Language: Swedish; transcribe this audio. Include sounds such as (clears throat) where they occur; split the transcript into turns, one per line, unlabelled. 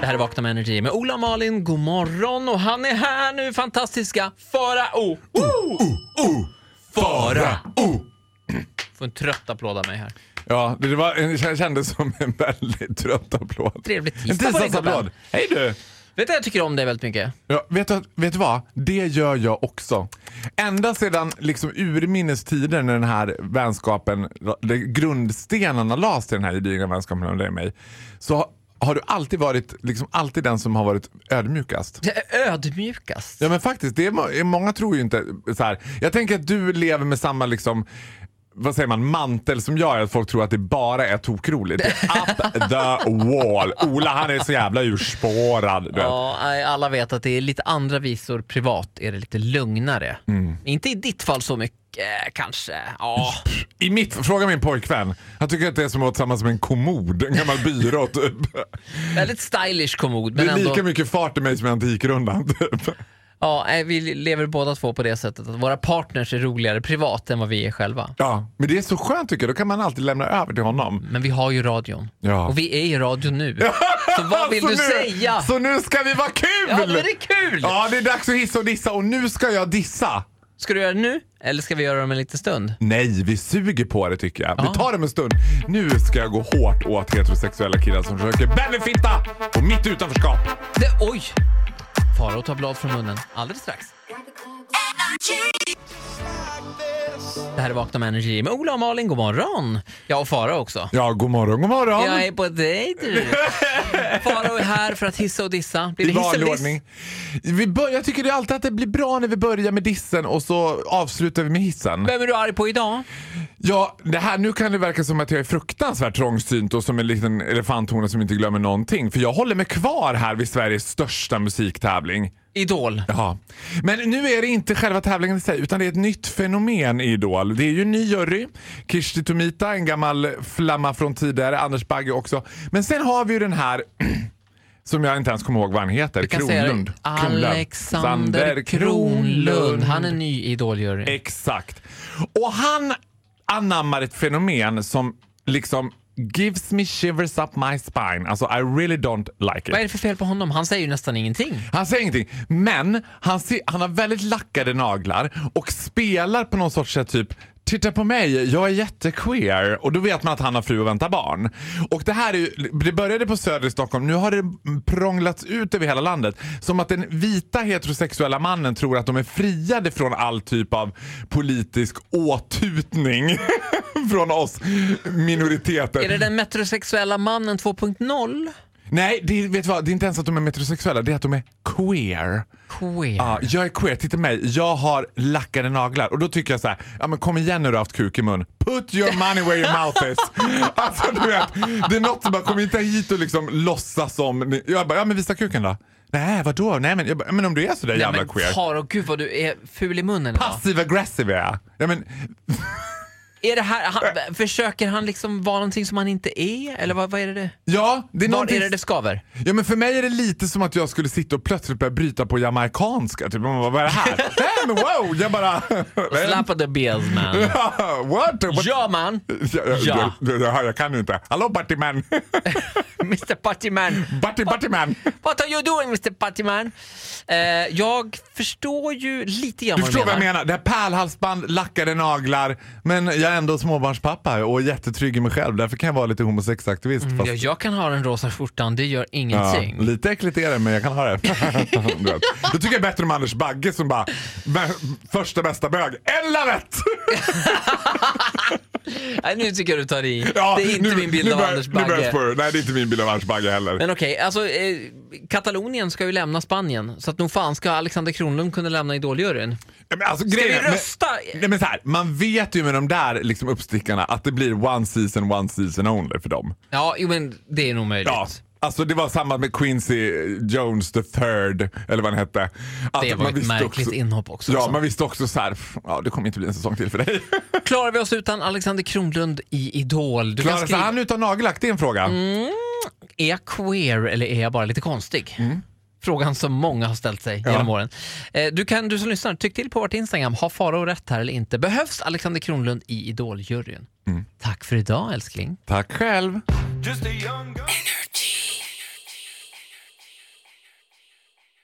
Det här är Vakna med Energy med Ola och Malin. God morgon och han är här nu, fantastiska Farao! Oh, Farao! Får en trött applåd av mig här.
Ja, det var, det kändes som en väldigt trött applåd.
Trevlig tisdag
En
på dig,
tisdagsapplåd.
gubben.
Hej du!
Vet du jag tycker om dig väldigt mycket?
Ja, vet, du, vet du vad? Det gör jag också. Ända sedan liksom urminnes tider när den här vänskapen, de grundstenarna lades till den här gedigna vänskapen mellan dig och mig, så har- har du alltid varit liksom, alltid den som har varit ödmjukast.
Det är ödmjukast.
Ja men faktiskt, det är, må- många tror ju inte så här. Jag tänker att du lever med samma liksom vad säger man, mantel som jag är, att folk tror att det bara är tokroligt. Det är Up the wall. Ola han är så jävla urspårad. Du vet.
Ja, nej, alla vet att det är lite andra visor privat, är det lite lugnare.
Mm.
Inte i ditt fall så mycket kanske.
(laughs)
Ja.
I mitt, fråga min pojkvän. Han tycker att det är som att vara tillsammans med en kommod, en gammal byrå typ.
Väldigt stylish kommod,
Det
men
är
ändå.
lika mycket fart i mig som i Antikrundan. Typ.
Ja, nej, vi lever båda två på det sättet att våra partners är roligare privat än vad vi är själva.
Ja, men det är så skönt tycker jag. Då kan man alltid lämna över till honom.
Men vi har ju radion.
Ja.
Och vi är i radion
(laughs)
nu. Så vad vill
Så
du
nu,
säga?
Så nu ska vi vara kul!
Ja, men det är kul!
Ja, det är dags att hissa och dissa och nu ska jag dissa.
Ska du göra det nu eller ska vi göra det om en liten stund?
Nej, vi suger på det tycker jag.
Ja.
Vi tar det med stund. Nu ska jag gå hårt åt heterosexuella killar som försöker benefitta på mitt utanförskap.
Det, oj! Farao tar blad från munnen alldeles strax. Det här är Vakna med Energy med Ola och Malin. God morgon! Jag och Farao också.
Ja, god morgon, god morgon.
Jag är på dejt
(laughs)
du. Farao är här för att hissa och dissa. Blir det
I
hiss
vanlig
eller diss?
ordning. Vi bör, jag tycker det är alltid att det blir bra när vi börjar med dissen och så avslutar vi med hissen.
Vem är du arg på idag?
Ja, det här, nu kan det verka som att jag är fruktansvärt trångsynt och som en liten elefanthona som inte glömmer någonting. För jag håller mig kvar här vid Sveriges största musiktävling.
Idol.
Jaha. Men nu är det inte själva tävlingen i sig utan det är ett nytt fenomen i Idol. Det är ju ny jury. Kirsti Tomita, en gammal flamma från tidigare. Anders Bagge också. Men sen har vi ju den här (clears throat) som jag inte ens kommer ihåg vad han heter.
Vi kan säga
Kronlund. Kronlund.
Alexander
Sander Eh.
Kronlund. Han är ny i Idoljuryn.
Exakt. Och han anammar ett fenomen som liksom gives me shivers up my spine. Alltså I really don't like it.
Vad är det för fel på honom? Han säger ju nästan ingenting.
Han säger ingenting, men han, ser, han har väldigt lackade naglar och spelar på någon sorts sätt typ Titta på mig, jag är jättequeer. Och då vet man att han har fru och väntar barn. Och det här är ju, det började på Söder i Stockholm, nu har det prånglats ut över hela landet. Som att den vita heterosexuella mannen tror att de är friade från all typ av politisk åtutning (laughs) från oss minoriteter.
Är det den metrosexuella mannen 2.0?
Nej, det, vet du vad? det är inte ens att de är metrosexuella, det är att de är queer.
Queer.
Ja, jag är queer, titta mig. Jag har lackade naglar. Och då tycker jag så här, ja men kom igen nu du har haft kuk i mun. Put your money where your mouth
(laughs)
is. alltså du vet, det är något som bara, kom inte hit och liksom låtsas som. ni- Jag bara, ja men visa kuken då. Nej vadå? Nej men, jag bara, men om du är sådär
Nej,
jävla
men
queer.
far och gud vad du är ful i munnen idag.
Passiv aggressiv är jag. Ja, men,
Är det här, han, försöker han liksom vara någonting som han inte är? Eller vad, vad är det det?
ja, det är
Var
någonting-
är det det skaver?
Ja men för mig är det lite som att jag skulle sitta och plötsligt börja bryta på jamaicanska. Typ, man bara, vad är
(laughs)
det här? Nej men wow! Jag bara... (laughs)
Slap of the bills man.
What? What?
Ja man!
Ja.
Ja.
Jag, jag, jag, jag kan ju inte. Hallå (laughs) Battyman!
Mr Partyman.
Batty Battyman!
What are you doing Mr Partyman? Eh, jag förstår ju lite grann
Du
vad
förstår vad jag menar. Det här pärlhalsband, lackade naglar. Men jag är ändå småbarnspappa och är jättetrygg i mig själv. Därför kan jag vara lite homosexaktivist. fast-
Ja, Mm, jag kan ha den rosa skjortan, det gör
Ja,
ingenting.
lite äckligt är det men jag
(laughs)
kan ha det. (laughs) Du vet. Då tycker jag bättre om Anders Bagge som bara "Bä- första bästa bög. Eller rätt! (laughs)
Nej, nu tycker jag du tar i.
Ja,
det är inte
nu-
min bild
nu
av
börjar-
Anders
Nu börjar jag
Bagge.
spåra. Nej det är inte min bild av Anders Bagge heller.
Men okej, alltså eh, Katalonien ska ju lämna Spanien, så att nog fan ska Alexander Kronlund kunna lämna Idoljuryn.
Ja, Men alltså,
Ska vi
grejen är- men-
rösta?
Nej, men så här, man vet ju med de där liksom, uppstickarna att det blir one season, one season only för dem.
Ja, jo men det är nog möjligt.
Ja. Alltså det var samma med Quincy Jones the third, eller vad han hette. Att
Det var
man
ett
visste
märkligt inhopp också.
Ja,
alltså.
man visste också så här, "Pff, ja, det kommer inte bli en säsong till för dig.
Klarar vi oss utan Alexander Kronlund i Idol? Du kan
Klarar sig
skriva,
han utan nagellack? Det är en fråga.
Mm. Är jag queer eller är jag bara lite konstig? Frågan som många har ställt sig
Ja.
genom åren. Eh, Du, kan, du som lyssnar, tyck till på vårt Instagram. Har Farao rätt här eller inte? Behövs Alexander Kronlund i Idoljuryn? Tack för idag älskling.
Tack själv.